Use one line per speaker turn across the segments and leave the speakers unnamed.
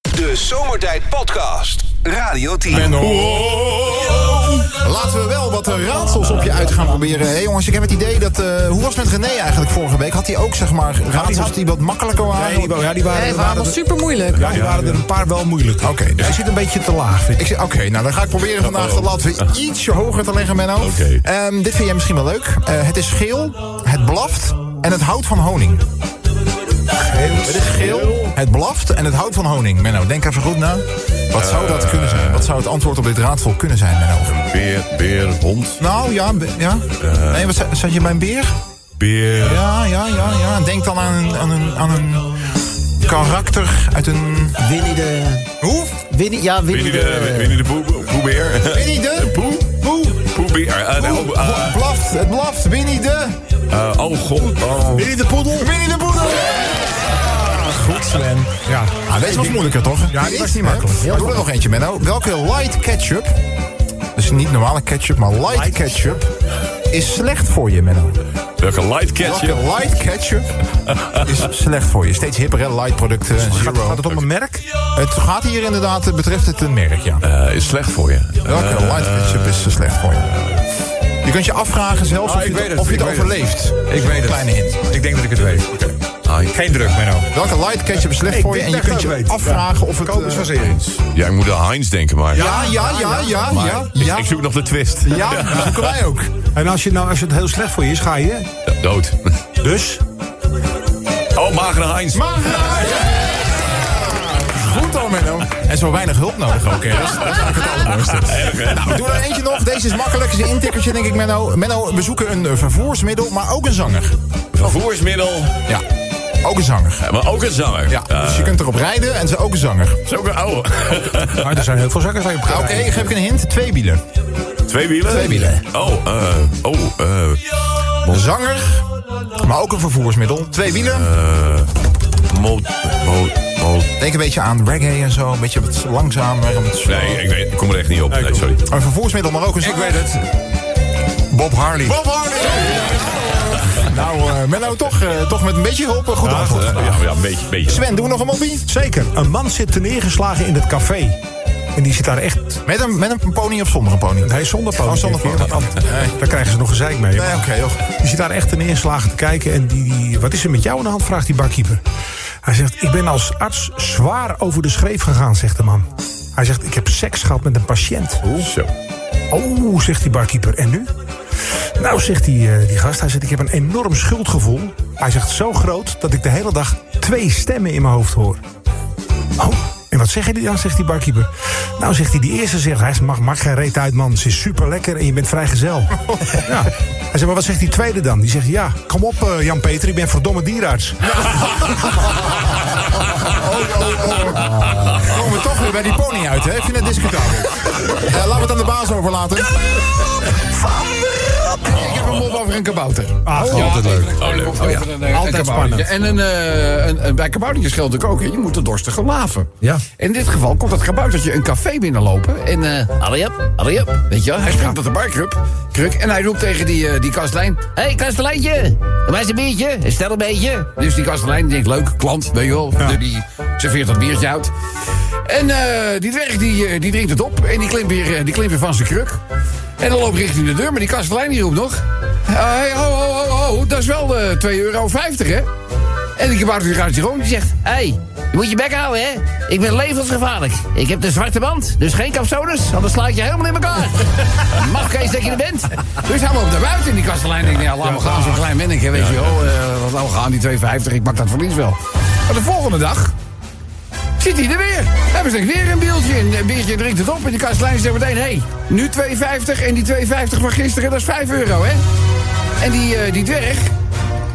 De Zomertijd Podcast. Radio 10.
Laten we wel wat eh, raadsels op je uit gaan proberen. Hé jongens, ik heb het idee dat... eh, hoe was het met René eigenlijk vorige week? Had hij ook zeg maar raadsels die wat makkelijker waren?
Nee, die, ja, die waren,
Nee, het waren
waren,
allemaal
er,
super moeilijk.
ja, die waren er een paar wel moeilijk.
Oké, dus-
Hij zit een beetje te laag, vind ik. Ah.
Ik zeg, oké, nou dan ga ik proberen vandaag de lat weer ietsje hoger te leggen, Menno.
Oké.
Ehm, dit vind jij misschien wel leuk. Eh, het is geel, het blaft en het houdt van honing. Het is geel, het blaft en het houdt van honing. Menno, denk even goed na. Wat zou dat kunnen zijn? Wat zou het antwoord op dit raadsel kunnen zijn, Menno?
Beer, beer, hond.
Nou, ja, be- ja.
Eh.
Nee, wat zei- zat je bij een beer?
Beer.
Ja, ja, ja, ja. Denk dan aan een, aan een, aan een karakter uit een...
Winnie de...
Hoe?
Winnie, ja, Winnie
Winnie de,
de...
Winnie de Poe- Poe- Poebeer.
Winnie de...
Poe?
Hoe?
Poebeer. Eh, nee, oh,
Het
eh,
blaft, het blaft, Winnie de...
eh, oh, god. Oh.
Winnie de Poedel. Winnie de Poedel. Goed, Sven.
Ja.
Ah, deze was moeilijker, toch?
Ja, die was niet makkelijk.
Hè? Doe er nog eentje, Menno. Welke light ketchup... Dus niet normale ketchup, maar light, ketchup... is slecht voor je, Menno.
Welke light
Welke
catcher.
light ketchup is slecht voor je? Steeds hipper, hè? Light producten, zero.
Gaat, gaat het om een merk?
Het gaat hier inderdaad, het betreft het een merk, ja.
Eh, is slecht voor je.
Welke light ketchup is te slecht voor je? Je kunt je afvragen zelfs
Ah,
of je
ik
het,
weet het,
of je
ik
het
weet het.
overleeft.
Ik weet het.
Kleine hint.
Ik denk dat ik het weet.
Ah, ik-
Geen druk, Menno.
Welke light ketchup is slecht
Ik
voor je?
denk
En je
dat ik
kunt je
het weet.
afvragen of het...
Kobus
eh,
was eens.
Ja, ik moet aan Heinz denken, maar...
Ja, ja, ja, ja,
Maar
ja,
ik-
ja.
Ik zoek nog de twist.
Ja, dat zoeken wij ook.
En als, je nou, als het heel slecht voor je is, ga je.
Ja, Dood.
Dus?
Oh, magere Heinz.
Maar Goed al, Menno. En zo weinig hulp nodig ook, hè. Dat is, dat is eigenlijk het allermooiste. Nou, doe er eentje nog. Deze is makkelijk. Is een intikkertje, denk ik, Menno. Menno, we zoeken een eh, vervoersmiddel, maar ook een zanger.
Vervoersmiddel.
Ja, ook een zanger.
Eh, Maar ook een zanger.
Ja,
Eh,
dus je kunt erop rijden en ze is ook een zanger.
is ook een oude.
Maar er zijn heel veel zakken waar je op
Ah, Oké,
kan rijden.
geef ik een hint. Twee wielen.
Twee wielen?
Twee wielen.
Oh, eh... oh, eh...
Een zanger, maar ook een vervoersmiddel. Twee wielen.
Mo... Mo... Mo...
Denk een beetje aan reggae en zo. Een beetje wat langzamer. Een
Nee, ik, weet, ik kom er echt niet op. Nee, sorry.
Een vervoersmiddel, maar ook een zanger.
het.
Bob Harley.
Bob Hardy!
Nou, eh, Menno, toch, eh, toch met een beetje hulp. een Goed
Ja, eh,
antwoord.
ja, ja, een beetje. beetje.
Swen, doen we nog een moppie?
Zeker. Een man zit neergeslagen in het café. En die zit daar echt...
Met een, met een pony of zonder een pony?
Hij is zonder pony.
Oh, zonder
Kijk,
pony.
want dan- Daar krijgen ze nog gezeik mee.
Nee, oké, joh.
Die zit daar echt ten neerslagen te kijken. En die, die, wat is er met jou aan de hand? vraagt die barkeeper. Hij zegt, ik ben als arts zwaar over de schreef gegaan, zegt de man. Hij zegt, ik heb seks gehad met een patiënt.
Zo.
Oh, zegt die barkeeper. En nu? Nou, zegt die, eh, die gast, hij zegt, ik heb een enorm schuldgevoel. Hij zegt, zo groot dat ik de hele dag twee stemmen in mijn hoofd hoor. Oh, en wat zeg je dan, zegt die barkeeper. Nou, zegt hij, die eerste zegt, hij mag, mag geen reet uit, man. Ze is super lekker en je bent vrijgezel. ja. Hij zegt, maar wat zegt die tweede dan? Die zegt, ja, kom op, eh, Jan-Peter, ik ben verdomme dierarts.
Dan komen we toch weer bij die pony uit, hè? Ik vind het discutabel. Eh, laten we het aan de baas overlaten. Ik heb een mop over een kabouter.
Ah,
altijd leuk.
Oh, leuk. Oh, ja.
Altijd spannend.
En een, eh, een, een, bij kaboutertjes geldt natuurlijk ook, hè, je moet de dorstige laven.
Ja.
In dit geval komt dat kaboutertje een café binnenlopen. En, eh hurry up, hurry up. Weet je wel, hij springt op de barkruk. Kruk, en hij roept tegen die, eh, die kastelein. Hé, hey, kasteleintje, waar is een biertje? Stel een beetje. Dus die kastelein die denkt, leuk, klant, weet je wel. Die serveert dat biertje uit. En eh, die dwerg die, eh, die drinkt het op en die klimt, weer, eh, die klimt weer van zijn kruk. En dan loopt richting de deur, maar die kastelein die roept nog. Hé, ho, ho, ho, ho, dat is wel de 2,50 euro, hè? En die kabouter gaat zich om die zegt... Hé, je moet je bek houden, hè? Ik ben levensgevaarlijk. Ik heb de zwarte band, dus geen capsodes, anders sla ik je helemaal in elkaar. Mafkees dat je er bent. Dus hij loopt naar buiten in die kastelein. Ik denk, ja, laat me gaan, zo'n klein menneke, weet je wel. Eh, wat nou gaan, die 2,50, ik pak dat verlies wel. Maar de volgende dag zit hij er weer. Hebben ze weer een biertje. En een biertje drinkt het op. En die kastelein zegt meteen... Hé, hey, nu 2,50 en die 2,50 van gisteren, dat is 5 euro, hè? En die, eh, die dwerg,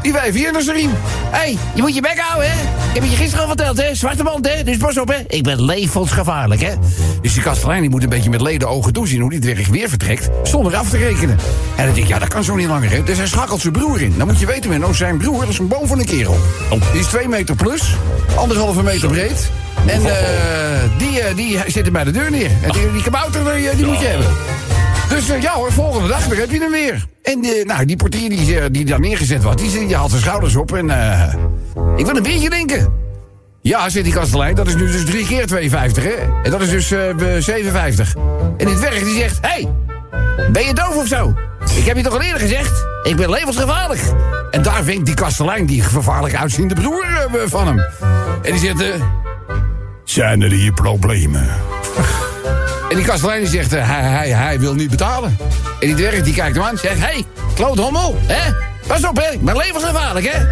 die wijf hier naar zijn riem.
Hé, hey, je moet je bek houden, hè? Ik heb het je gisteren al verteld, hè? Zwarte band, hè? Dus pas op, hè? Ik ben levensgevaarlijk, hè?
Dus die kastelein die moet een beetje met leden ogen toezien... hoe die dwerg weer vertrekt, zonder af te rekenen. En dan denk ik, ja, dat kan zo niet langer, hè? Dus hij schakelt zijn broer in. Dan moet je weten, men, oh, zijn broer dat is een boom van een kerel. Die is 2 meter plus, anderhalve meter breed... En eh, die, eh, die zitten bij de deur neer. En die, die kabouter, die, eh, die moet je hebben. Dus eh, ja hoor, volgende dag, daar heb je hem weer. En eh, nou, die portier die, eh, die daar neergezet was, die, die had zijn schouders op en... eh, ik wil een biertje drinken. Ja, zit die kastelein. Dat is nu dus drie keer 2,50, hè? En dat is dus eh, eh, 7,50. En die dwerg die zegt... Hé, hey, ben je doof of zo? Ik heb je toch al eerder gezegd? Ik ben levensgevaarlijk. En daar vindt die kastelein die gevaarlijk uitziende broer eh, van hem. En die zegt... eh, zijn er hier problemen? en die kastelein die zegt... eh, hij, hij, hij wil niet betalen. En die dwerg die kijkt hem aan en zegt... Hé, hey, kloothommel, hè? Pas op, hè? Ik ben levensgevaarlijk, hè?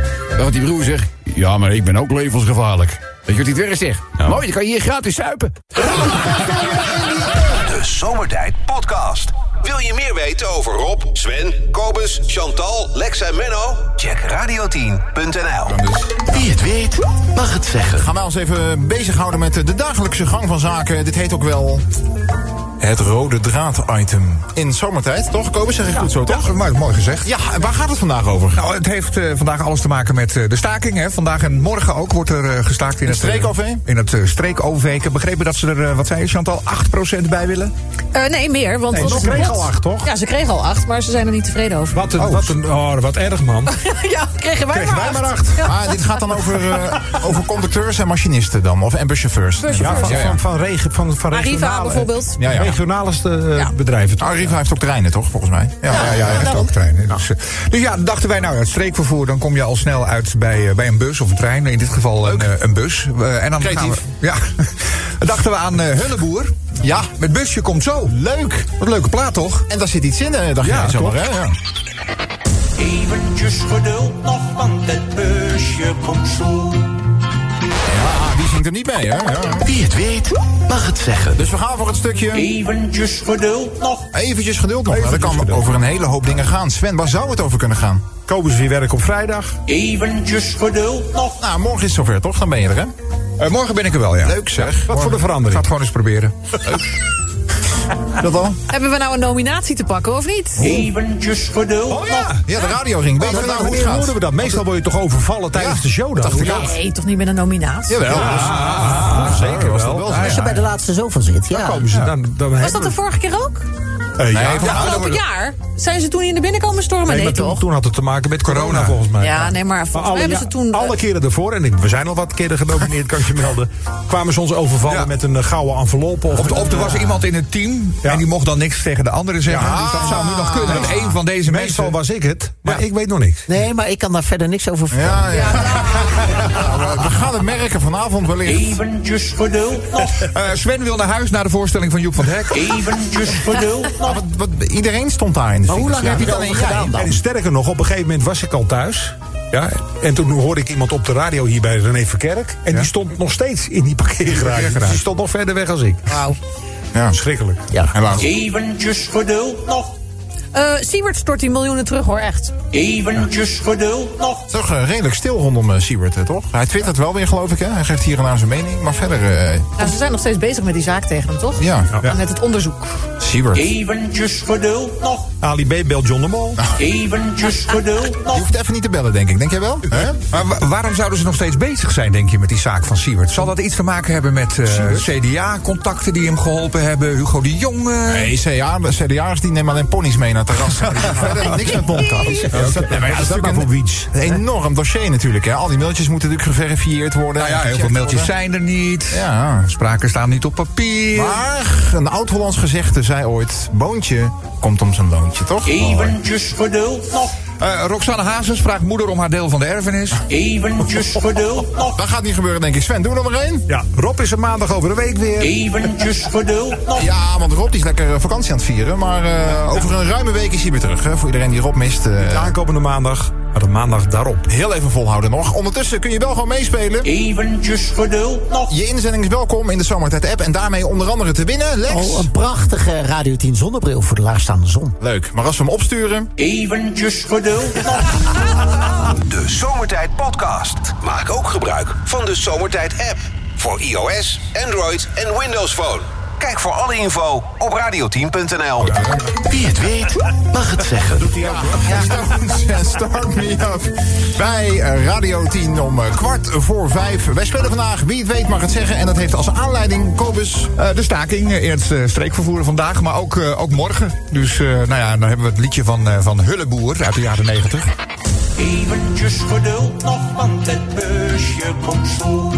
Wat die broer zegt... Ja, maar ik ben ook levensgevaarlijk. Weet je wat die dwerg zegt? Mooi, dan kan je hier gratis suipen.
De Zomertijd Podcast. Wil je meer weten over Rob, Sven, Kobus, Chantal, Lex en Menno? Check radio10.nl.
Wie het weet, mag het zeggen.
Gaan Nou, wij ons even bezighouden met de dagelijkse gang van zaken. Dit heet ook wel het rode draad-item. In zomertijd, toch? Kobus, zeg ik goed zo, toch?
Ja, mooi, mooi gezegd.
Ja, en waar gaat het vandaag over?
Nou, het heeft eh, vandaag alles te maken met eh, de staking. Hè. Vandaag en morgen ook wordt er eh, gestaakt in het, eh,
streek-OV?
In het eh, streek-OV. Ik heb begrepen dat ze er, eh, wat zei je Chantal, 8% bij willen.
Eh, nee, meer. Want
Nee,
als
ze
het
kregen
bot-
al acht, toch?
Ja, ze kregen al acht, maar ze zijn er niet tevreden over.
Wat, een, wat, een, oh, wat erg, man.
ja, kregen wij
Kregen
maar
wij
acht.
maar acht.
Ah, dit gaat dan over, eh, over conducteurs en machinisten dan, of en buschauffeurs.
Ja, van,
ja, ja.
van, van, regen, van, van
Arriva
regionale,
bijvoorbeeld.
Ja, ja.
regionale eh,
Ja.
bedrijven. toch?
Arriva heeft ook treinen, toch? Volgens mij. Ja,
Ja, ja, echt ook treinen. Dus, eh, dus ja, dachten wij, nou, het streekvervoer, dan kom je al snel uit bij, eh, bij een bus of een trein. In dit geval een, eh, een bus. Eh, en dan gaan we,
Creatief.
ja, Dan dachten we aan eh, Hulleboer.
Ja.
Met busje komt zo.
Leuk!
Wat een leuke plaat, toch?
En daar zit iets in, eh, dacht
Ja,
jij zomaar, hè? Ja.
Eventjes geduld nog, want het busje komt zo.
ja, ah, die zingt er niet mee, hè? Ja.
Wie het weet, mag het zeggen.
Dus we gaan voor het stukje...
Eventjes geduld nog,
Eventjes geduld nog. Nou, dat kan
geduld.
over een hele hoop dingen gaan. Sven, waar zou het over kunnen gaan?
Kobus weer werk op vrijdag.
eventjes geduld nog.
Nou, morgen is het zover, toch? Dan ben je er, hè?
Eh, morgen ben ik er wel, ja.
Leuk zeg.
Wat
Ik ga
voor de
het
verandering.
gewoon eens proberen.
Dat al?
Hebben we nou een nominatie te pakken of niet?
Eventjes geduld nog.
Oh Ja, de radioring. Weet je nou hoe het
Wanneer hoorden
gaat?
we dat? Meestal word je toch overvallen tijdens de show dan?
dacht ik ook.
Nee, toch niet met een nominatie?
Jawel. dat is- zeker was dat wel zo.
Ja,
Nee,
ja.
Als je bij de laatste zoveel zit, ja.
Komen ze dan, dan Eh,
Was dat de vorige keer ook?
van-
Afgelopen jaar? Zijn ze toen in de binnenkomen stormen?
Nee,
Nee,
maar toen,
toch?
toen had het te maken met corona,
Corona.
volgens mij.
Ja, nee, maar volgens mij hebben ze toen... eh,
alle keren ervoor, en ik- we zijn al wat keren genomineerd, kan ik je melden. kwamen ze ons overvallen
Ja.
met een eh, gouden enveloppe. Of, eh,
Of, of er was iemand in het team
Ja.
en die mocht dan niks tegen de anderen zeggen. dus dat zou nu nog kunnen. Dat een van deze
Meestal
mensen...
was ik het, maar ik weet nog niks.
Nee, maar ik kan daar verder niks over vertellen.
Ja, ja. Nou, we- we gaan het merken vanavond wellicht.
Eventjes geduld nog.
Eh, Sven wil naar huis naar de voorstelling van Joep van het Hek.
Eventjes geduld nog.
Wat, wat, iedereen stond daar in de
hoe
file.
lang heb je
dat
erover gedaan
Nou.
dan?
En sterker nog, op een gegeven moment was ik al thuis. Ja, en toen hoorde ik iemand op de radio hier bij René Verkerk. En die stond nog steeds in die parkeergarage. Dus die stond nog verder weg als ik.
Wauw.
Ja,
Schrikkelijk.
en laat-
Eventjes geduld nog.
eh, Siewert stort die miljoenen terug, hoor, echt.
Eventjes geduld nog.
Toch eh, redelijk stil rondom eh, Siewert, hè, toch? Hij twittert wel weer, geloof ik, hè? Hij geeft hier en daar zijn mening. Maar verder, eh,
Nou, ze zijn nog steeds bezig met die zaak tegen hem, toch?
ja.
Ja.
Met het onderzoek.
Siewert. Je
Eventjes geduld nog.
Ali B belt John de Mol.
Eventjes geduld nog.
hoeft even niet te bellen, denk ik. Denk jij wel? Hè?
Maar wa- waarom zouden ze nog steeds bezig zijn, denk je, met die zaak van Siewert? Zal dat iets te maken hebben met eh, CDA-contacten die hem geholpen hebben? Hugo de Jong? eh?
Nee, CA, CDA's die nemen alleen ponies mee naar het terras. Verder niks met mondkapjes. Ja, dat- nee, maar ja, dat is
maar
natuurlijk
voor
een-
wiets.
Een enorm dossier natuurlijk. Hè. Al die mailtjes moeten natuurlijk geverifieerd worden.
Nou ja,
en
heel veel
gecheckt
mailtjes
worden.
zijn er niet.
Ja.
Spraken staan niet op papier.
Maar een oud-Hollands gezegde zei ooit... boontje komt om zijn loontje, toch? Oh.
Eventjes geduld nog.
Eh, Roxanne Hazes vraagt moeder om haar deel van de erfenis.
Eventjes geduld nog.
Dat gaat niet gebeuren, denk ik. Sven, doe er nog maar één.
Ja, Rob is er maandag over de week weer.
Eventjes geduld nog.
Ja, want Rob die is lekker eh, vakantie aan het vieren. Maar eh, over een ruime week is hij weer terug. Hè. Voor iedereen die Rob mist. eh,
De aankomende maandag, maar de maandag daarop.
heel even volhouden nog. Ondertussen kun je wel gewoon meespelen.
Eventjes geduld nog.
Je inzending is welkom in de Zomertijd-app. En daarmee onder andere te winnen, Lex.
Oh, een prachtige Radio 10 zonnebril voor de laagstaande zon.
Leuk. Maar als we hem opsturen...
Eventjes geduld nog.
De Zomertijd Podcast. Maak ook gebruik van de Zomertijd app. Voor iOS, Android en Windows Phone. Kijk voor alle info op radioteam.nl.
Wie het weet, mag het zeggen.
Ja. Stones en Start Me Up bij eh, Radio 10 om eh, kwart voor vijf. Wij spelen vandaag, wie het weet mag het zeggen. En dat heeft als aanleiding Kobus.
Eh, de staking eh, in het eh, streekvervoer vandaag, maar ook, eh, ook morgen. Dus eh, nou ja, dan hebben we het liedje van, eh, van Hulleboer uit de jaren 90.
Eventjes geduld nog, want het busje komt zo.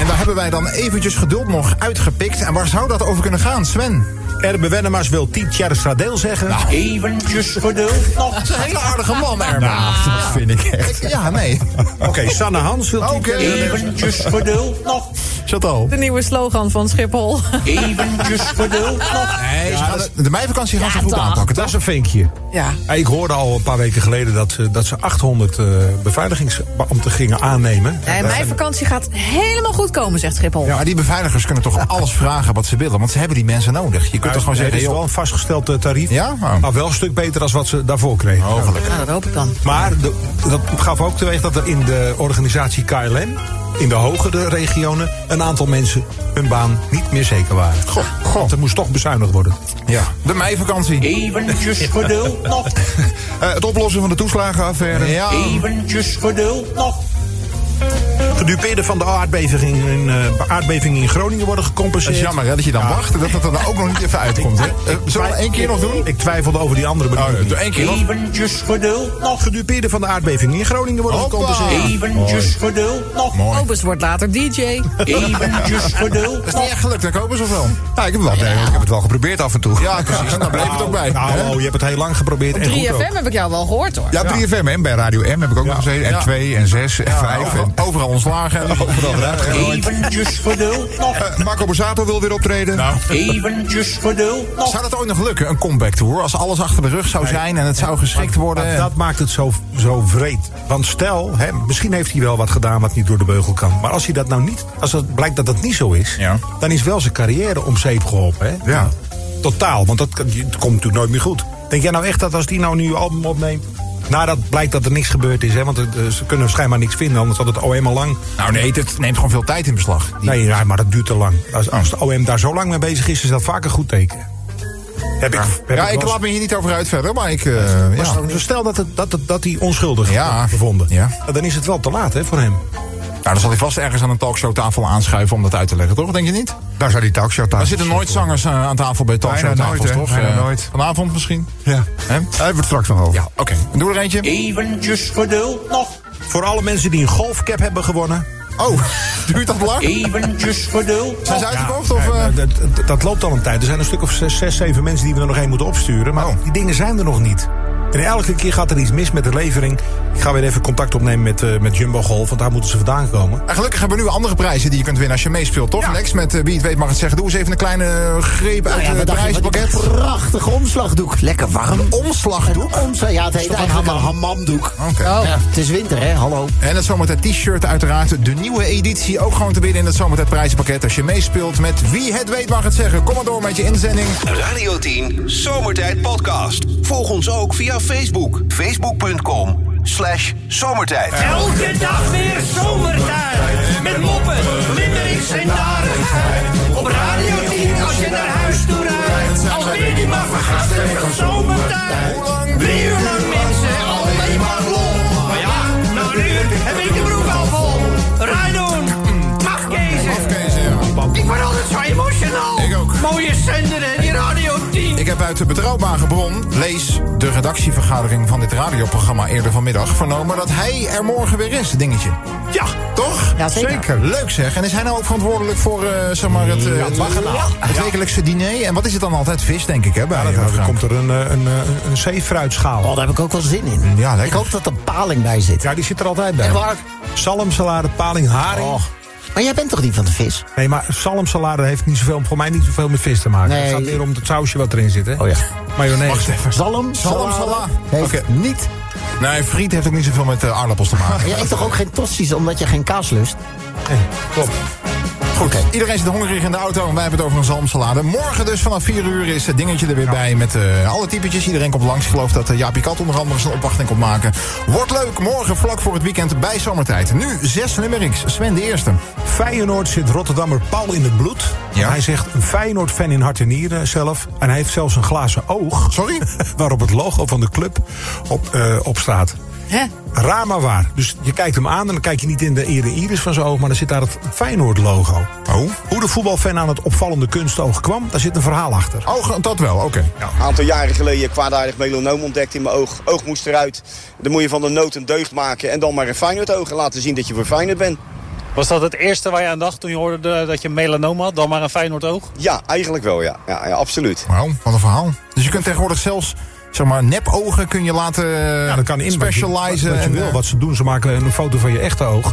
En daar hebben wij dan eventjes geduld nog uitgepikt. En waar zou dat over kunnen gaan, Sven?
Erbe Wennemars wil Tiet Jarstra deel zeggen.
Nou.
Eventjes geduld nog.
Dat is een hele aardige man, Erbe.
dat
Ah.
vind ik echt.
Ja, nee.
Oké, Sanne Hans wil Tiet
Oké.
Eventjes geduld nog.
Zat al.
De nieuwe slogan van Schiphol.
Eventjes geduld nog.
Nee, ze gaan de, de meivakantie gaan ze
Ja,
goed
dag.
aanpakken.
Dat is een vinkje.
Ja.
Hey, Ik hoorde al een paar weken geleden dat, ze- dat ze 800 eh, beveiligingsbeambten gingen aannemen.
Nee, mijn vakantie gaat helemaal goed komen, zegt Schiphol.
Maar die beveiligers kunnen toch alles vragen wat ze willen, want ze hebben die mensen nodig. Je kunt toch gewoon
Nee,
zeggen,
Het is wel
joh,
een vastgesteld eh, tarief.
Ja? Oh.
Maar wel een stuk beter dan wat ze daarvoor kregen.
mogelijk.
Nou, dat hoop ik dan.
Maar de- dat gaf ook teweeg dat er in de organisatie KLM, in de hogere regionen, een aantal mensen hun baan niet meer zeker waren. Goh, Want er moest toch bezuinigd worden.
Ja, de meivakantie.
Eventjes geduld nog.
Eh, het oplossen van de toeslagenaffaire.
Ja,
Eventjes geduld nog.
Gedupeerden van de aardbeving in, eh, aardbeving in Groningen worden
dat
gecompenseerd.
is jammer hè, dat je dan
Ja.
wacht en dat het er dan ook nog niet even uitkomt. Hè? Eh, zullen we dat één keer nog doen?
Ik twijfelde over die andere
Oh,
bedoeling.
doe één keer nog.
Eventjes geduld nog.
Gedupeerden van de aardbeving in Groningen worden
Hoppa.
gecompenseerd.
Eventjes geduld nog.
Mooi.
Obus wordt later DJ.
Eventjes geduld
Dat is niet
nog.
echt gelukt, hè, Kobus, of wel?
Ja, ik, heb het wel, ik heb het wel geprobeerd af en toe.
Ja, precies, en daar bleef het ook bij.
Nou,
hè?
oh, je hebt het heel lang geprobeerd. En goed ook.
3FM heb ik jou wel gehoord hoor.
Ja, 3FM en bij Radio M heb ik ook nog gezeten. En
Ja.
2 en 6 en 5. En,
Overal- Overal ontslagen.
overal eruit gegooid.
Eventjes geduld nog.
Eh, Marco Borsato wil weer optreden.
Eventjes geduld nog.
Zou dat ooit nog lukken, een comeback tour? Als alles achter de rug zou zijn en het zou geschikt worden.
Maar dat maakt het zo, zo vreed. Want stel, hè, misschien heeft hij wel wat gedaan wat niet door de beugel kan. Maar als hij dat nou niet, als het blijkt dat dat niet zo is,
Ja.
dan is wel zijn carrière om zeep geholpen. Hè?
Ja.
Totaal, want dat, kan- het komt natuurlijk nooit meer goed. Denk jij nou echt dat als die nou nu een album opneemt. Nadat blijkt dat er niks gebeurd is, hè? want het, eh, ze kunnen schijnbaar niks vinden, anders had het OM al lang.
Nou nee, het neemt gewoon veel tijd in beslag. Die-
Nee, ja, maar dat duurt te lang. Als, als de OM daar zo lang mee bezig is, is dat vaak een goed teken. Heb ik, heb
Ja, ik
wel eens-
laat me hier niet over uit verder, maar ik... eh,
Maar
ja.
zo- zo stel dat, het, dat, het, dat hij onschuldig
Ja.
wordt gevonden.
Ja.
Nou, Dan is het wel te laat hè, voor hem.
Nou, dan zal hij vast ergens aan een talkshowtafel aanschuiven om dat uit te leggen, toch? Denk je niet?
Daar zou die talkshow
Er
thuis
zitten nooit zangers eh, aan tafel bij talkshowtafels,
nooit, hè?
toch?
Bijna
Eh,
nooit.
Vanavond misschien?
Ja.
Hè?
Daar hebben we het straks nog over.
Ja, oké. Doe er eentje.
Eventjes geduld nog.
Voor alle mensen die een golfcap hebben gewonnen.
Oh, duurt dat lang?
Eventjes geduld
Zijn
nog.
ze uitverkocht? Of, eh?
Eh, dat, dat- dat loopt al een tijd. Er zijn een stuk of zes, zes zeven mensen die we er nog één moeten opsturen. Maar
Oh.
die dingen zijn er nog niet. En elke keer gaat er iets mis met de levering. Ik ga weer even contact opnemen met, eh, met Jumbo Golf, want daar moeten ze vandaan komen.
En gelukkig hebben we nu andere prijzen die je kunt winnen als je meespeelt, toch? Lex, met eh, wie het weet mag het zeggen. Doe eens even een kleine eh, greep uit
Ja,
het
wat dacht je van dit
prijspakket.
prachtig omslagdoek. Lekker warm.
Omslagdoek.
Een omslag, ja, het heet eigenlijk een hamamdoek.
Oké.
Oh.
Ja, het is winter, hè? Hallo. Oh,
En het zomertijd t-shirt uiteraard. De nieuwe editie ook gewoon te winnen in het zomertijd prijzenpakket. Als je meespeelt met Wie het weet mag het zeggen. Kom maar door met je inzending.
Radio 10 Zomertijd Podcast. Volg ons ook via Facebook. Facebook.com slash zomertijd.
Elke dag weer zomertijd. Met moppen, limmerings en narigheid. Op Radio 10 als je naar huis toe rijdt. Alweer die maffe gasten van zomertijd. Drie uur lang mensen, alleen maar lol. Maar ja, na een uur heb ik de broek al vol. Rijdon, mafkezen. Ik word altijd zo emotional.
Ik ook.
Mooie zender en die Radio 10.
Ik heb uit de betrouwbare bron, lees de redactievergadering van dit radioprogramma eerder vanmiddag, vernomen dat hij er morgen weer is, dingetje.
Ja.
Toch?
Ja, zeker.
Leuk zeg. En is hij nou ook verantwoordelijk voor eh, zeg maar, het, eh, het, het wekelijkse diner? En wat is het dan altijd? Vis, denk ik, hè? Bij,
Ja,
eh,
dan
Frank.
komt er een, eh, een, eh, een zeefruitschaal.
Oh, daar heb ik ook wel zin in.
Ja, lekker.
ik hoop dat er paling bij zit.
Ja, die zit er altijd bij.
Echt waar?
Salmsalade, paling, haring.
Oh. Maar jij bent toch niet van de vis?
Nee, maar salmsalade heeft niet zoveel, voor mij niet zoveel met vis te maken.
Nee.
Het gaat meer om het sausje wat erin zit, hè?
Oh ja.
Mayonaise.
Wacht even.
Zalm?
Zalm,
salade
salade.
Heeft
Oké.
niet.
Nee, friet heeft ook niet zoveel met eh, aardappels te maken.
Jij eet toch ook geen tossies omdat je geen kaas lust?
Klopt.
Goed, iedereen zit hongerig in de auto en wij hebben het over een zalmsalade. Morgen dus vanaf 4 uur is het dingetje er weer bij met eh, alle typetjes. Iedereen komt langs. Ik geloof dat eh, Jaapie Kat onder andere zijn opwachting komt maken. Wordt leuk, morgen vlak voor het weekend bij Zomertijd. Nu 6 nummer X. Sven de Eerste.
Feyenoord zit Rotterdammer Paul in het bloed.
Ja.
Hij zegt een Feyenoord-fan in hart en nieren zelf. En hij heeft zelfs een glazen oog.
Sorry?
waarop het logo van de club op, eh, op staat.
Hè?
Raar maar waar. Dus je kijkt hem aan en dan kijk je niet in de ere iris van zijn oog... maar dan zit daar het Feyenoord-logo.
Oh.
Hoe de voetbalfan aan het opvallende kunstoog kwam... daar zit een verhaal achter.
Oh, ge- dat wel, oké.
Een aantal jaren geleden kwaadaardig melanoom ontdekt in mijn oog. Oog moest eruit. Dan moet je van de nood een deugd maken en dan maar een Feyenoord oog en laten zien dat je voor Feyenoord bent.
Was dat het eerste waar je aan dacht toen je hoorde eh, dat je melanoom had? Dan maar een Feyenoord oog?
Ja, eigenlijk wel, ja. Ja, ja absoluut.
Wauw, wat een verhaal. Dus je kunt tegenwoordig zelfs, zeg maar, nepogen kun je laten eh,
Ja, dat kan in Wat je,
specializen.
wat je
en,
wil.
eh,
Wat ze doen, ze maken een foto van je echte oog.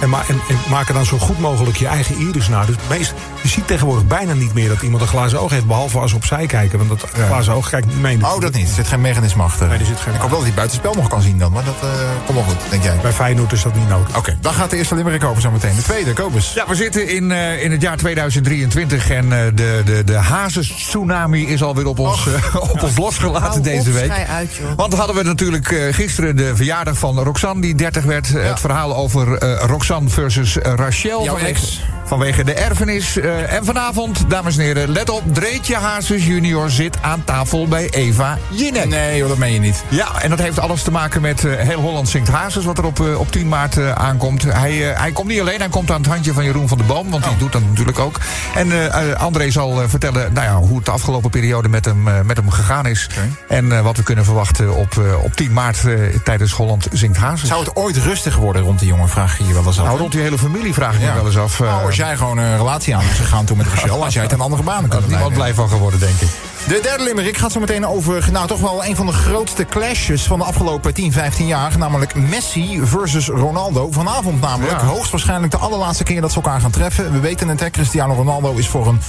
En, ma en, en maken dan zo goed mogelijk je eigen iris na. Dus meest, je ziet tegenwoordig bijna niet meer dat iemand een glazen oog heeft. Behalve als ze opzij kijken. Want dat glazen oog kijkt niet mee.
Oh, dat niet. Er zit geen mechanisme achter.
Nee, er zit geen...
Ik hoop wel dat hij buitenspel nog kan zien dan, maar dat eh, komt wel goed, denk jij.
Bij Feyenoord is dat niet nodig.
Oké, dan gaat de eerste Limerick open zo meteen. De tweede, Kobus.
Ja, we zitten in, eh, in het jaar 2023 en eh, de, de, de hazes-tsunami is alweer op ons, eh, op ons losgelaten
Nou, Hou
deze
op,
week.
schei uit, joh.
Want hadden we natuurlijk eh, gisteren de verjaardag van Roxanne, die 30 werd. eh, Het verhaal over eh Roxanne versus eh, Rachel.
Jouw
vanwege,
ex.
vanwege de erfenis. Eh, en vanavond, dames en heren, let op. Dreetje Hazes junior zit aan tafel bij Eva Jinek.
Nee joh, dat meen je niet.
Ja, Ah, en dat heeft alles te maken met eh, Heel Holland Zingt Hazes... wat er op, eh, op 10 maart eh, aankomt. Hij, eh, hij komt niet alleen, hij komt aan het handje van Jeroen van der Boom... want die
Oh.
doet dat natuurlijk ook. En eh, eh, André zal eh, vertellen nou ja, hoe het de afgelopen periode met hem, eh, met hem gegaan is... en eh, wat we kunnen verwachten op, eh, op 10 maart eh, tijdens Holland Zingt Hazes.
Zou het ooit rustig worden rond die jongen, vraag je je wel eens af.
Nou, rond die hele familie vraag ik
Ja.
me wel eens af... eh,
Oh,
Nou, als jij gewoon een relatie aan was gegaan toen met Rochelle... als jij het aan andere banen
had
kunnen
niemand blij van geworden, denk ik.
De derde limerick gaat zo meteen over nou, toch wel een van de grootste clashes van de afgelopen 10, 15 jaar. Namelijk Messi versus Ronaldo. Vanavond namelijk
Ja.
hoogstwaarschijnlijk de allerlaatste keer dat ze elkaar gaan treffen. We weten het, hè, Cristiano Ronaldo is voor een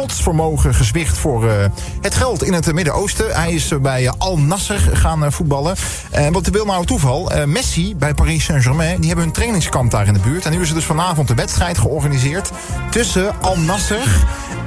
godsvermogen gezwicht voor eh, het geld in het eh, Midden-Oosten. Hij is eh, bij eh, Al Nasser gaan eh, voetballen. En wat wil nou toeval, eh, Messi bij Paris Saint-Germain, die hebben hun trainingskamp daar in de buurt. En nu is er dus vanavond een wedstrijd georganiseerd tussen Al Nasser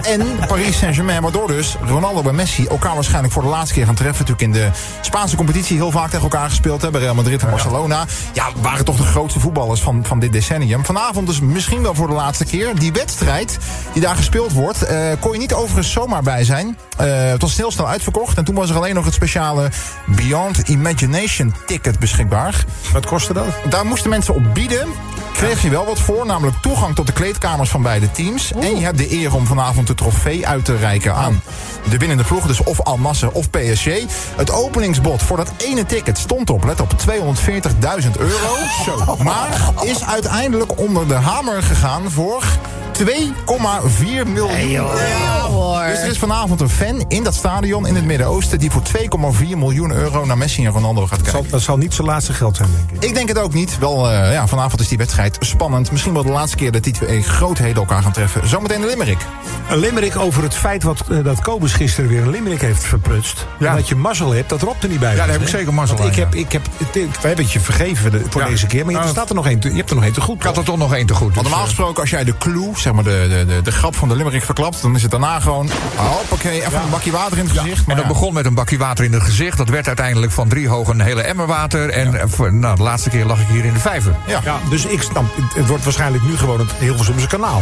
en Paris Saint-Germain, waardoor dus Ronaldo en Messi elkaar waarschijnlijk voor de laatste keer gaan treffen. Natuurlijk in de Spaanse competitie heel vaak tegen elkaar gespeeld hebben. Real Madrid en Barcelona. Ja, waren toch de grootste voetballers van, van dit decennium. Vanavond dus misschien wel voor de laatste keer. Die wedstrijd die daar gespeeld wordt, eh, kon je niet overigens zomaar bij zijn. Eh, het was heel snel uitverkocht. En toen was er alleen nog het speciale Beyond Imagination ticket beschikbaar.
Wat kostte dat?
Daar moesten mensen op bieden. Kreeg je wel wat voor, namelijk toegang tot de kleedkamers van beide teams. En je hebt de eer om vanavond de trofee uit te reiken aan de winnende ploeg. Dus of Al Nasser of PSG. Het openingsbod voor dat ene ticket stond op, let op, 240.000 euro. Zo. Maar is uiteindelijk onder de hamer gegaan voor 2,4 miljoen
Ja hoor.
dus er is vanavond een fan in dat stadion in het Midden-Oosten... die voor 2,4 miljoen euro naar Messi en Ronaldo gaat kijken.
Zal, dat zal niet zijn laatste geld zijn, denk ik.
Ik denk het ook niet. Wel, eh, ja, vanavond is die wedstrijd spannend. Misschien wel de laatste keer dat die twee grootheden elkaar gaan treffen. Zometeen de Limerick.
Een limerick over het feit wat, eh, dat Kobus gisteren weer een limerick heeft verprutst. En dat je mazzel hebt dat Rob er niet bij was,
daar heb ik
hè?
zeker mazzel
Want ik
aan,
heb, ik heb, het- ik- we hebben het je vergeven voor de- voor
Ja.
deze keer, maar je,
Ah.
er staat er nog één te, je hebt er nog één te goed.
Ik had er toch nog één te goed.
Want
dus,
normaal
eh,
gesproken, als jij de clue, zeg maar de, de, de, de grap van de Limerick verklapt... dan is het daarna gewoon, hoppakee, even een bakje water in het gezicht.
En
Maar
dat
ja.
begon met een bakje water in het gezicht. Dat werd uiteindelijk van drie hoog een hele emmer water. En eh, voor- nou, de laatste keer lag ik hier in de vijver.
Ja, dus ik snap, het, het wordt waarschijnlijk nu gewoon het Hilversumse kanaal.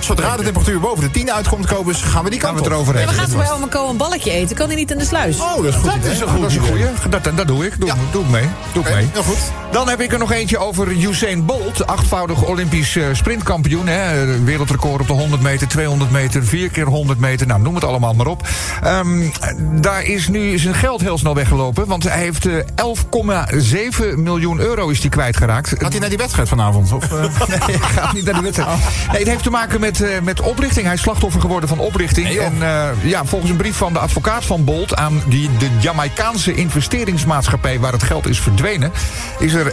Zodra de temperatuur boven de 10 uitkomt, Kobus, gaan we die
Gaan
kant
we het
op.
erover
Ja, we
hebben.
gaan zo bij oma Co een balletje eten. Kan hij niet in de sluis?
Oh, dat is goed.
Dat is een goeie. Dat, is een goeie. dat, dat doe ik. Doe, doe ik mee. Doe ik
Oké,
mee.
heel goed.
Dan heb ik er nog eentje over Usain Bolt. Achtvoudig Olympisch eh, sprintkampioen. Hè. Eh, Wereldrecord op de 100 meter, 200 meter, 4 keer 100 meter. Nou, noem het allemaal maar op. Ehm, daar is nu zijn geld heel snel weggelopen. Want hij heeft eh, 11,7 miljoen euro is die kwijtgeraakt.
Gaat hij naar die wedstrijd vanavond? Of, eh?
Nee, hij gaat niet naar de wedstrijd.
Oh.
Nee, het heeft te maken met, eh, met oplichting. Hij is slachtoffer geworden van oplichting.
Nee, joh.
en eh, ja, volgens een brief van de advocaat van Bolt aan die, de Jamaicaanse investeringsmaatschappij waar het geld is verdwenen, is er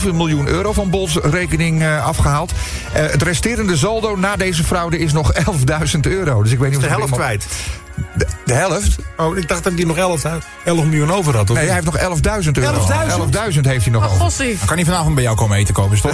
11,7 miljoen euro van Bolts rekening eh, afgehaald. Eh, het resterende saldo na deze fraude is nog 11.000 euro. Dus ik weet niet
De
of dat
helft
iemand-
kwijt.
De, de helft?
Oh, ik dacht dat hij nog 11, had- 11 miljoen over had. Of
Nee, hij heeft nog 11.000 euro.
11.000?
11.000 heeft
Oh,
hij nog over.
Gossie.
kan hij vanavond bij jou komen eten, Kobus, toch?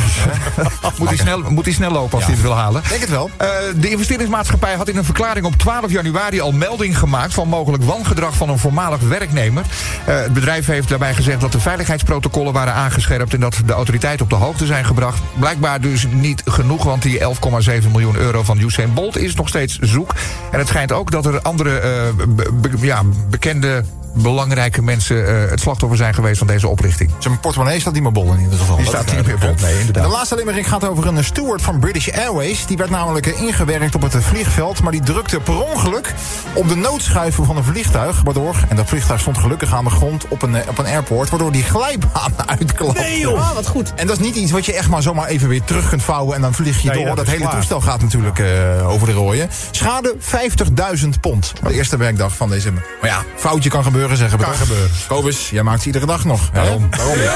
Moet hij snel, moet hij snel lopen als
Ja.
hij het wil halen.
Denk het wel.
Eh, de investeringsmaatschappij had in een verklaring op 12 januari al melding gemaakt van mogelijk wangedrag van een voormalig werknemer. Eh, het bedrijf heeft daarbij gezegd dat de veiligheidsprotocollen waren aangescherpt en dat de autoriteiten op de hoogte zijn gebracht. Blijkbaar dus niet genoeg, want die 11,7 miljoen euro van Usain Bolt is nog steeds zoek. En het schijnt ook dat er andere eh, be- be- ja, bekende belangrijke mensen eh, het slachtoffer zijn geweest van deze oplichting.
Zijn portemonnee staat niet meer bol in ieder geval.
Die
Dat
staat
is
niet meer bol. Nee,
En de
inderdaad.
laatste limmering gaat over een steward van British Airways. Die werd namelijk eh, ingewerkt op het eh, vliegveld. Maar die drukte per ongeluk op de noodschuiven van een vliegtuig. Waardoor, en dat vliegtuig stond gelukkig aan de grond op een, eh, op een airport. Waardoor die glijbaan uitklapte.
Nee, joh.
Ah, wat goed. En dat is niet iets wat je echt maar zomaar even weer terug kunt vouwen. En dan vlieg je
Nee,
door.
dat
Dat,
is
hele
klaar.
toestel gaat natuurlijk eh, over de rooien. Schade 50.000 pond. De eerste werkdag van december. Maar ja, foutje kan gebeuren, zeggen we
Kan
toch?
gebeuren.
Kobus, jij maakt ze iedere dag nog. hè?
Daarom.
Daarom. Goed,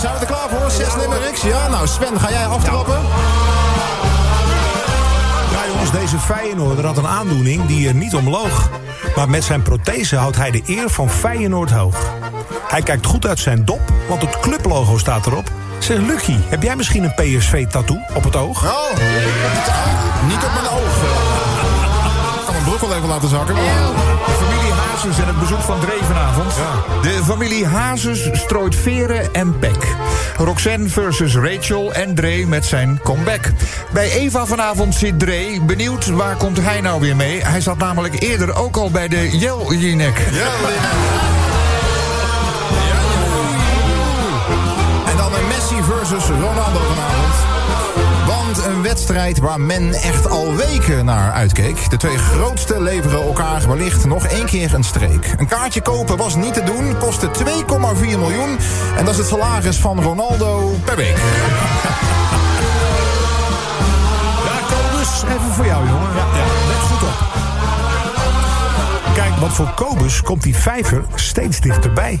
zijn we er klaar voor? Zes limericks. Ja, nou Sven, ga jij aftrappen?
Ja, jongens, deze Feyenoorder had een aandoening die er niet om loog. Maar met zijn prothese houdt hij de eer van Feyenoord hoog. Hij kijkt goed uit zijn dop, want het clublogo staat erop. Zeg, Lucky, heb jij misschien een PSV-tattoo op het oog?
Oh, niet op mijn ogen. Ik kan mijn broek wel even laten zakken. maar-
De familie Hazes en het bezoek van Drevenavond. De familie Hazes strooit veren en pek. Roxanne versus Rachel en Dre met zijn comeback. Bij Eva vanavond zit Dre. Benieuwd, waar komt hij nou weer mee? Hij zat namelijk eerder ook al bij de Jeljinek.
En dan een Messi versus Ronaldo vanavond. Want een wedstrijd waar men echt al weken naar uitkeek. De twee grootste leveren elkaar wellicht nog één keer een streek. Een kaartje kopen was niet te doen, kostte 2,4 miljoen. En dat is het salaris van Ronaldo per week.
Kobus, even voor jou, jongen. Ja, let goed op. Kijk, want voor Kobus komt die vijver steeds dichterbij.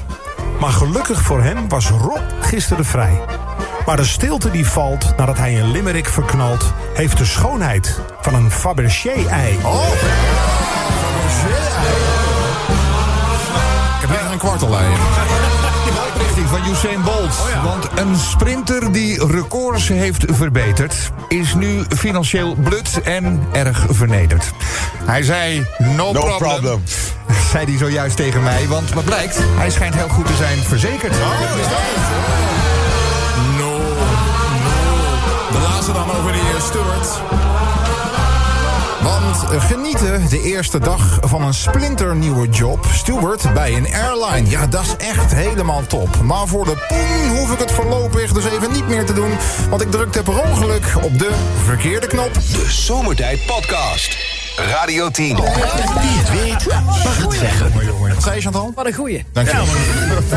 Maar gelukkig voor hem was Rob gisteren vrij. Maar de stilte die valt nadat hij een limerick verknalt... heeft de schoonheid van een Fabergé-ei.
Ik heb echt een kwartel aan
Oprichting van Usain Bolt. Want een sprinter die records heeft verbeterd... is nu financieel blut en erg vernederd. Hij zei, no, problem. Zei hij zojuist tegen mij, want wat blijkt... hij schijnt heel goed te zijn verzekerd.
No, no. De laatste dan over die eh, Stuart. Want eh, genieten de eerste dag van een splinternieuwe job. Steward bij een airline. Ja, dat is echt helemaal top. Maar voor de poen hoef ik het voorlopig dus even niet meer te doen. Want ik drukte per ongeluk op de verkeerde knop.
De Zomertijd Podcast. Radio 10. Wie het weet, mag het zeggen.
Wat zei je, Chantal?
Wat een goeie.
Dank je.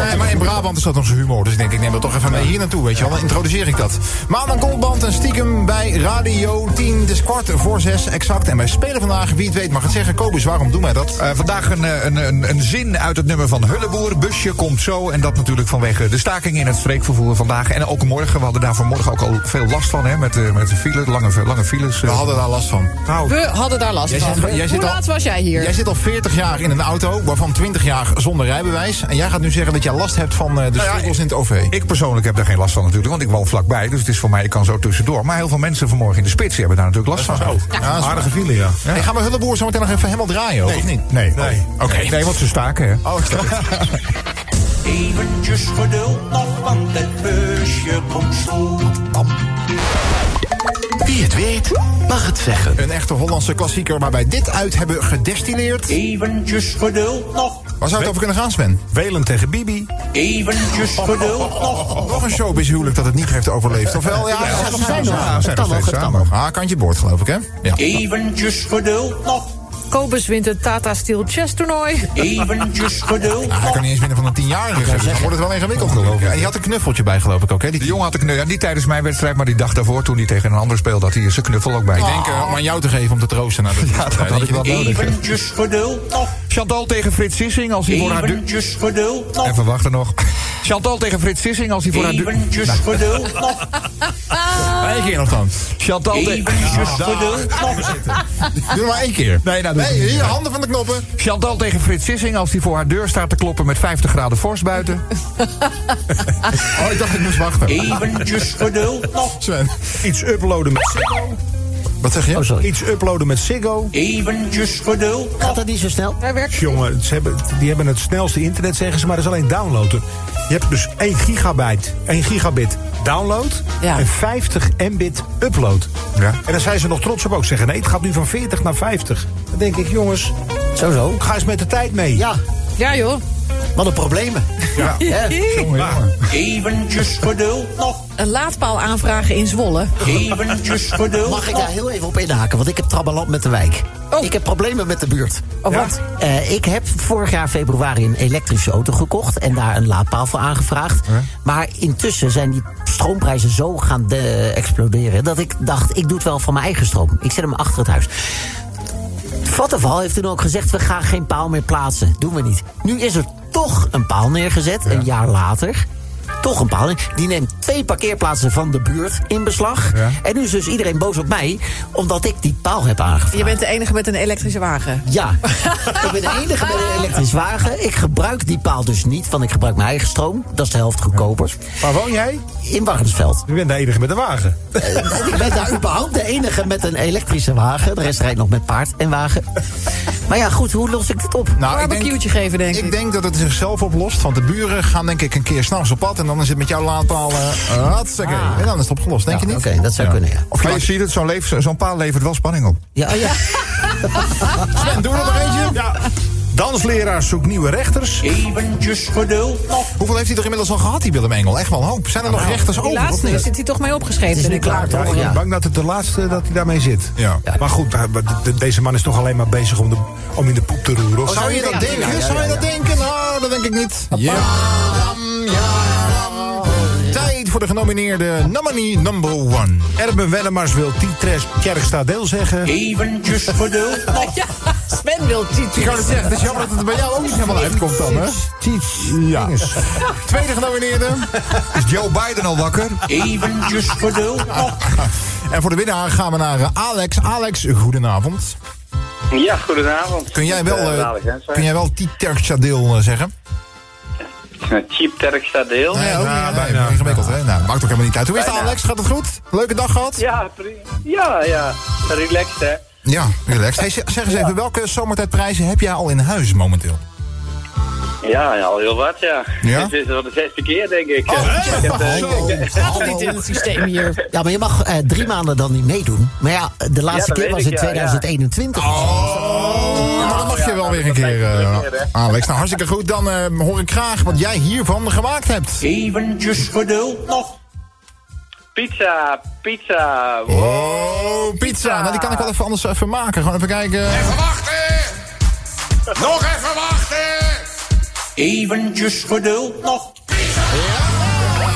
Nee, maar in Brabant is dat nog zo'n humor. Dus ik denk, ik neem dat toch even mee hier naartoe, weet je wel. Dan introduceer ik dat. Maan en Koolband en stiekem bij Radio 10. Het is kwart voor zes, exact. En wij spelen vandaag, wie het weet mag het zeggen. Kobus, waarom doen wij dat?
Eh, vandaag een, eh, een, een, een zin uit het nummer van Hulleboer. Busje komt zo. En dat natuurlijk vanwege de staking in het streekvervoer vandaag. En ook morgen. We hadden daar vanmorgen ook al veel last van. Hè, met, eh, met de file, lange, lange files. eh.
We hadden daar last van.
Nou,
We hadden daar last
Jij
van.
zit ge- jij
Hoe
zit al-
laat was jij hier?
Jij zit al 40 jaar in een auto, waarvan 20 jaar zonder rijbewijs. En jij gaat nu zeggen dat jij last hebt van eh, de
Nou ja,
struggles in het OV.
Ik persoonlijk heb daar geen last van natuurlijk, want ik woon vlakbij. Dus het is voor mij, ik kan zo tussendoor. Maar heel veel mensen vanmorgen in de spits die hebben daar natuurlijk last van.
Ja, dat is
Aardige
waar.
file, ja.
Hey, gaan we Hulleboer zo meteen nog even helemaal draaien, hoor,
Nee.
of niet? Oh,
Nee. Oh,
Nee.
Oké.
Nee, want ze staken, hè.
Oh, sorry.
Eventjes geduld nog, want het busje komt zo.
Wie het weet, mag het zeggen.
Een echte Hollandse klassieker waar wij dit uit hebben gedestilleerd.
Eventjes geduld nog,
Waar zou het over kunnen gaan, Sven?
Welen tegen Bibi.
eventjes geduld nog.
Oh. Nog een showbiz huwelijk dat het niet heeft overleefd. Ofwel, ja, ze zijn nog
zijn
steeds
nog.
samen.
Het kan nog, het kan nog.
Ah, kantje boord, geloof ik, hè? Ja.
Eventjes geduld nog,
Kobus wint het Tata Steel Chess toernooi.
eventjes geduld
Ah, hij kan
nog.
niet eens winnen van een tienjarige. Dus dan wordt het wel ingewikkeld, geloof ik. En die had een knuffeltje bij, geloof ik ook, hè? Die
De jongen had ik nu, ja, niet tijdens mijn wedstrijd, maar die dag daarvoor, toen hij tegen een ander speelde, had hij zijn knuffel ook bij.
Ik denk eh, om aan jou te geven om te troosten. Nou, naar de-
Ja, dat had ik wel nodig.
Eventjes geduld nog,
Chantal tegen Frits Sissing als hij voor haar du-
eventjes geduld nog.
Even wachten nog. Chantal tegen Frits Sissing als hij voor haar du-
Eventjes geduld nog,
Maar één keer nog dan.
Chantal tegen.
eventjes geduld nog.
Doe er maar één keer.
Nee, nou, doe
Nee,
ik niet.
hier, handen van de knoppen.
Chantal tegen Frits Sissing als hij voor haar deur staat te kloppen met 50 graden vorst buiten.
Oh, ik dacht ik moest wachten.
Eventjes geduld nog,
Sven, Oh,
Iets uploaden met Ziggo.
wat zeg je?
Iets uploaden met Ziggo.
eventjes geduld
Gaat
nog.
dat niet zo snel?
Daar werkt
Jongen, ze hebben, die hebben het snelste internet, zeggen ze, maar dat is alleen downloaden. Je hebt dus 1 gigabyte, 1 gigabit download
Ja.
en 50 mbit upload.
Ja.
En dan zijn ze nog trots op ook zeggen, nee, het gaat nu van 40 naar 50. Dan denk ik, jongens,
Zo, zo.
ga eens met de tijd mee.
Ja.
Ja, joh.
Wat een problemen.
Ja.
Hè?
Eventjes geduld nog.
Een laadpaal aanvragen in Zwolle.
Eventjes geduld.
Mag ik daar heel even op inhaken? Want ik heb trabbeland met de wijk. Ik heb problemen met de buurt.
Oh, wat?
Eh, ik heb vorig jaar februari een elektrische auto gekocht en daar een laadpaal voor aangevraagd. Maar intussen zijn die stroomprijzen zo gaan de- exploderen dat ik dacht, ik doe het wel van mijn eigen stroom. Ik zet hem achter het huis. Vattenval heeft toen ook gezegd, we gaan geen paal meer plaatsen. Doen we niet. Nu is er toch een paal neergezet, een jaar later. Toch een paal. Die neemt twee parkeerplaatsen van de buurt in beslag. En nu is dus iedereen boos op mij, omdat ik die paal heb aangevraagd.
Je bent de enige met een elektrische wagen.
Ja, ik ben de enige met een elektrisch wagen. Ik gebruik die paal dus niet, want ik gebruik mijn eigen stroom. Dat is de helft goedkoper.
Waar woon jij?
In Warnsveld.
Je bent de enige met een wagen.
ik ben daar überhaupt de enige met een elektrische wagen. De rest rijdt nog met paard en wagen. Maar ja, goed, hoe los ik dit op?
Nou, ik denk-
Barbecue'tje geven, denk ik.
Ik denk dat het zichzelf oplost, want de buren gaan denk ik een keer s'nachts op pad... en dan is het met jouw laadpaal eh, hartstikke. En dan is het opgelost, denk je niet?
Oké, dat zou kunnen, ja.
Of
Maar je ziet het, zo'n leef- zo'n paal levert wel spanning op.
Ja, oh ja.
Sven, doe er nog eentje. Dansleraars zoekt nieuwe rechters.
Eventjes geduld.
Hoeveel heeft hij er inmiddels al gehad, die Willem Engel? Echt wel een hoop. Zijn er
Nou,
nog rechters
Die
over? of
laatste
niet?
zit hij toch mee opgeschreven.
Het is nu
denk ik.
klaar,
Ja,
toch?
ik ben
Ja.
bang dat het de laatste dat hij daarmee zit.
Oh, Ja.
Maar goed, hij- de- de- deze man is toch alleen maar bezig om, de, om in de poep te roeren. of
Oh,
zo?
zou je dat denken? Zou je dat denken? Nou, dat denk ik niet. Padam, jam. Tijd voor de genomineerde nominee number one.
Erben Wellemars wil Titres Kerkstadeel zeggen.
Eventjes geduld.
Ja, Sven wil
Ik
titel.
kan het zeggen, het is jammer dat het er bij jou ook niet helemaal uitkomt dan, hè? Ja. Tweede genomineerde
Is Joe Biden al wakker?
Eventjes geduld nog.
En voor de winnaar gaan we naar eh, Alex. Alex, goedenavond.
Ja, goedenavond.
Kun jij wel,
Ik, eh,
eh,
Alex Hensler.
kun jij wel Titerchadil eh, zeggen?
Cheap Terk staat deel.
Nee, nou, ook niet. Nee, ingewikkeld, hè? Nou, maakt ook helemaal niet uit. Hoe is het,
Bijna.
Alex? Gaat het goed? Leuke dag gehad?
Ja, pri- ja, ja. Relaxed, hè.
Ja, relaxed. Hey, zeg zeg eens even, welke zomertijdprijzen heb jij al in huis momenteel?
Ja, ja, al heel wat, ja.
Ja? Oh,
Dit is al de zesde keer, denk ik. ik heb, eh, ik heb-
Niet in het systeem hier.
Ja, maar je mag eh, drie maanden dan niet meedoen. Maar ja, de
Ja,
laatste
dat
keer
weet
was
ik,
in
ja,
2021. of zo.
Oh, maar Oh, dan mag je wel weer een keer, eh, Alex. Nou, hartstikke goed. Dan eh, hoor ik graag wat jij hiervan gemaakt hebt.
Eventjes geduld nog.
Pizza, pizza.
Oh, pizza. Nou, die kan ik wel even anders even maken. Gewoon even kijken.
Nog even wachten. Eventjes geduld nog.
Oh,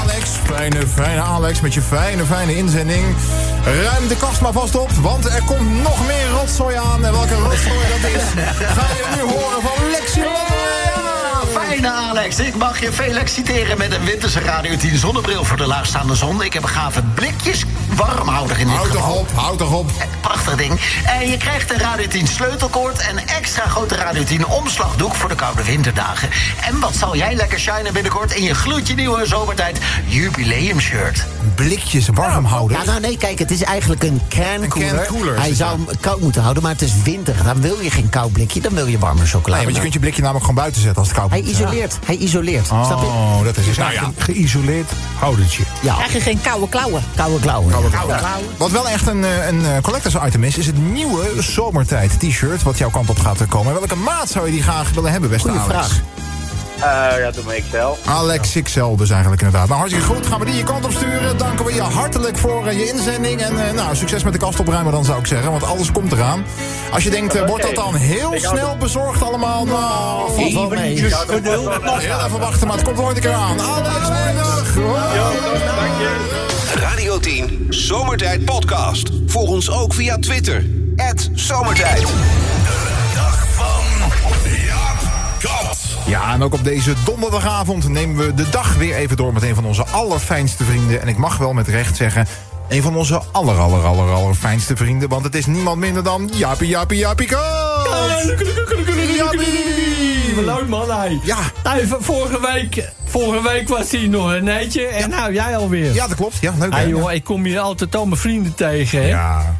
Alex, fijne, fijne Alex met je fijne, fijne inzending. Ruim de kast maar vast op, want er komt nog meer rotzooi aan. En welke rotzooi dat is, ga je nu horen van Lexi Lodewijk.
Fijne Alex, ik mag je veel exciteren met een winterse Radio 10 zonnebril voor de laagstaande zon. Ik heb een gave blikjes warmhouder in dit
Houd
geval.
toch op, houd toch op.
Prachtig ding. En je krijgt een Radio 10 sleutelkoord en extra grote Radio 10 omslagdoek voor de koude winterdagen. En wat zal jij lekker shinen binnenkort in je gloedje nieuwe zomertijd jubileum shirt.
Blikjes warm houden.
Ja, nou nee, kijk, het is eigenlijk een
Een
kerncooler.
can cooler,
Hij
is nou?
zou hem koud moeten houden, maar het is winter. Dan wil je geen koud blikje, dan wil je warme chocolade.
Nee, want je kunt je blikje namelijk gewoon buiten zetten als het koud
Hij
wordt.
isoleert, hij isoleert. Snap je?
Oh, dat is het. Nou ja.
Een geïsoleerd houdertje.
Ja,
Krijg je geen koude klauwen.
koude klauwen.
Ja. Wat wel echt een, eh, een eh, collectors item is, is het nieuwe zomertijd t-shirt wat jouw kant op gaat komen. En welke maat zou je die graag willen hebben, beste
Goeie
Alex?
vraag.
Eh, ja, doe maar ik zelf.
Alex XL dus eigenlijk inderdaad. Nou, hartstikke goed. Gaan we die je kant op sturen. Danken we je hartelijk voor eh, je inzending. En eh, nou, succes met de kast opruimen dan zou ik zeggen. Want alles komt eraan. Als je denkt, eh, wordt dat dan heel
Ik hou
snel bezorgd allemaal? Nou, valt wel mee.
Eventjes geduld nog.
Heel even wachten, maar het komt ooit een keer aan. Alex, mooi dag.
Radio 10 Zomertijd Podcast. Volg ons ook via Twitter. Zomertijd.
Ja, en ook op deze donderdagavond nemen we de dag weer even door met een van onze allerfijnste vrienden. En ik mag wel met recht zeggen, een van onze aller, aller, aller, allerfijnste vrienden. Want het is niemand minder dan Jaapie, Jaapie, Jaapie Koos. Jaapie!
Leuk man, hij.
Ja,
Hij, v- vorige, week, vorige week was hij nog een netje en nou jij alweer.
ja, dat klopt. Ja, leuk. hè?
Hey, joh, ik kom hier altijd al mijn vrienden tegen. Hè?
Ja.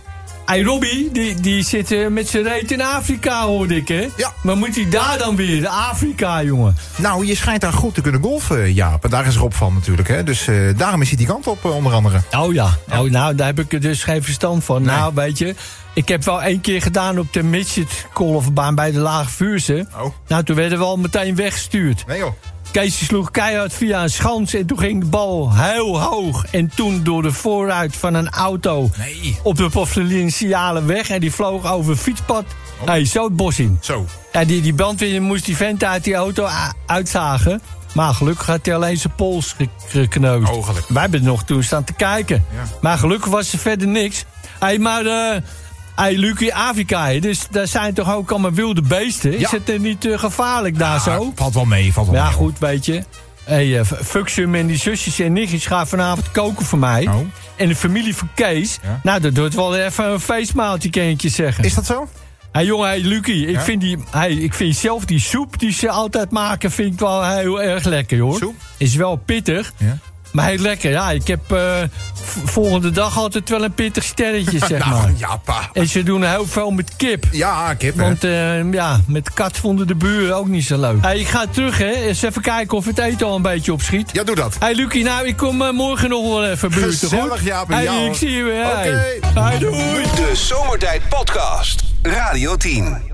Hey, Robbie, die, die zit eh, met zijn reet in Afrika, hoorde ik, hè? Ja. Maar moet hij daar dan weer? Afrika, jongen.
Nou, je schijnt daar goed te kunnen golfen, Jaap. En daar is Rob van natuurlijk. Hè? Dus eh, daarom is hij die kant op, eh, onder andere.
Oh ja. Oh, nou, daar heb ik er dus geen verstand van. Nou, weet je, ik heb wel één keer gedaan op de midget golfbaan bij de Lage Vuurse. Nou, toen werden we al meteen weggestuurd.
Nee joh.
Keesje sloeg keihard via een schans en toen ging de bal heel hoog. En toen door de voorruit van een auto op de provinciale weg. En die vloog over een fietspad. Hey, zo het bos in.
Zo.
En die, die brandweer moest die vent uit die auto a- uitzagen. Maar gelukkig had hij alleen zijn pols ge- gekneusd. Wij hebben er nog toen staan te kijken. Maar gelukkig was er verder niks. hey, maar... eh hey, Luc, in Afrika, hè, dus daar zijn toch ook allemaal wilde beesten? Is het er niet eh, gevaarlijk daar zo?
Valt wel mee, valt wel
Ja,
mee.
goed, weet je. Hey, eh, Fuxum en die zusjes en nichtjes gaan vanavond koken voor mij.
Oh.
En de familie van Kees. Nou, dat doet wel even een feestmaaltje, kan ik je zeggen.
Is dat zo?
Hé jongen, hey, Lucie, ik,
Ja?
vind die, hey, ik vind zelf die soep die ze altijd maken, vind ik wel heel erg lekker, hoor. Soep? Is wel pittig, maar heel lekker. Ja, ik heb eh, v- volgende dag altijd wel een pittig sterretje, zeg
Nou,
maar.
ja, pa.
En ze doen heel veel met kip.
Ja, kip, hè.
Want eh, ja, met kat vonden de buren ook niet zo leuk. Hey, ik ga terug, hè. Eens even kijken of het eten al een beetje opschiet.
Ja, doe dat.
hey, Lucie, nou, ik kom eh, morgen nog wel even buurten,
Gezellig,
goed?
Jaap, en
Hey,
jou.
ik zie je weer. hey.
Oké.
Hey, doei.
De Zomertijd Podcast. Radio 10.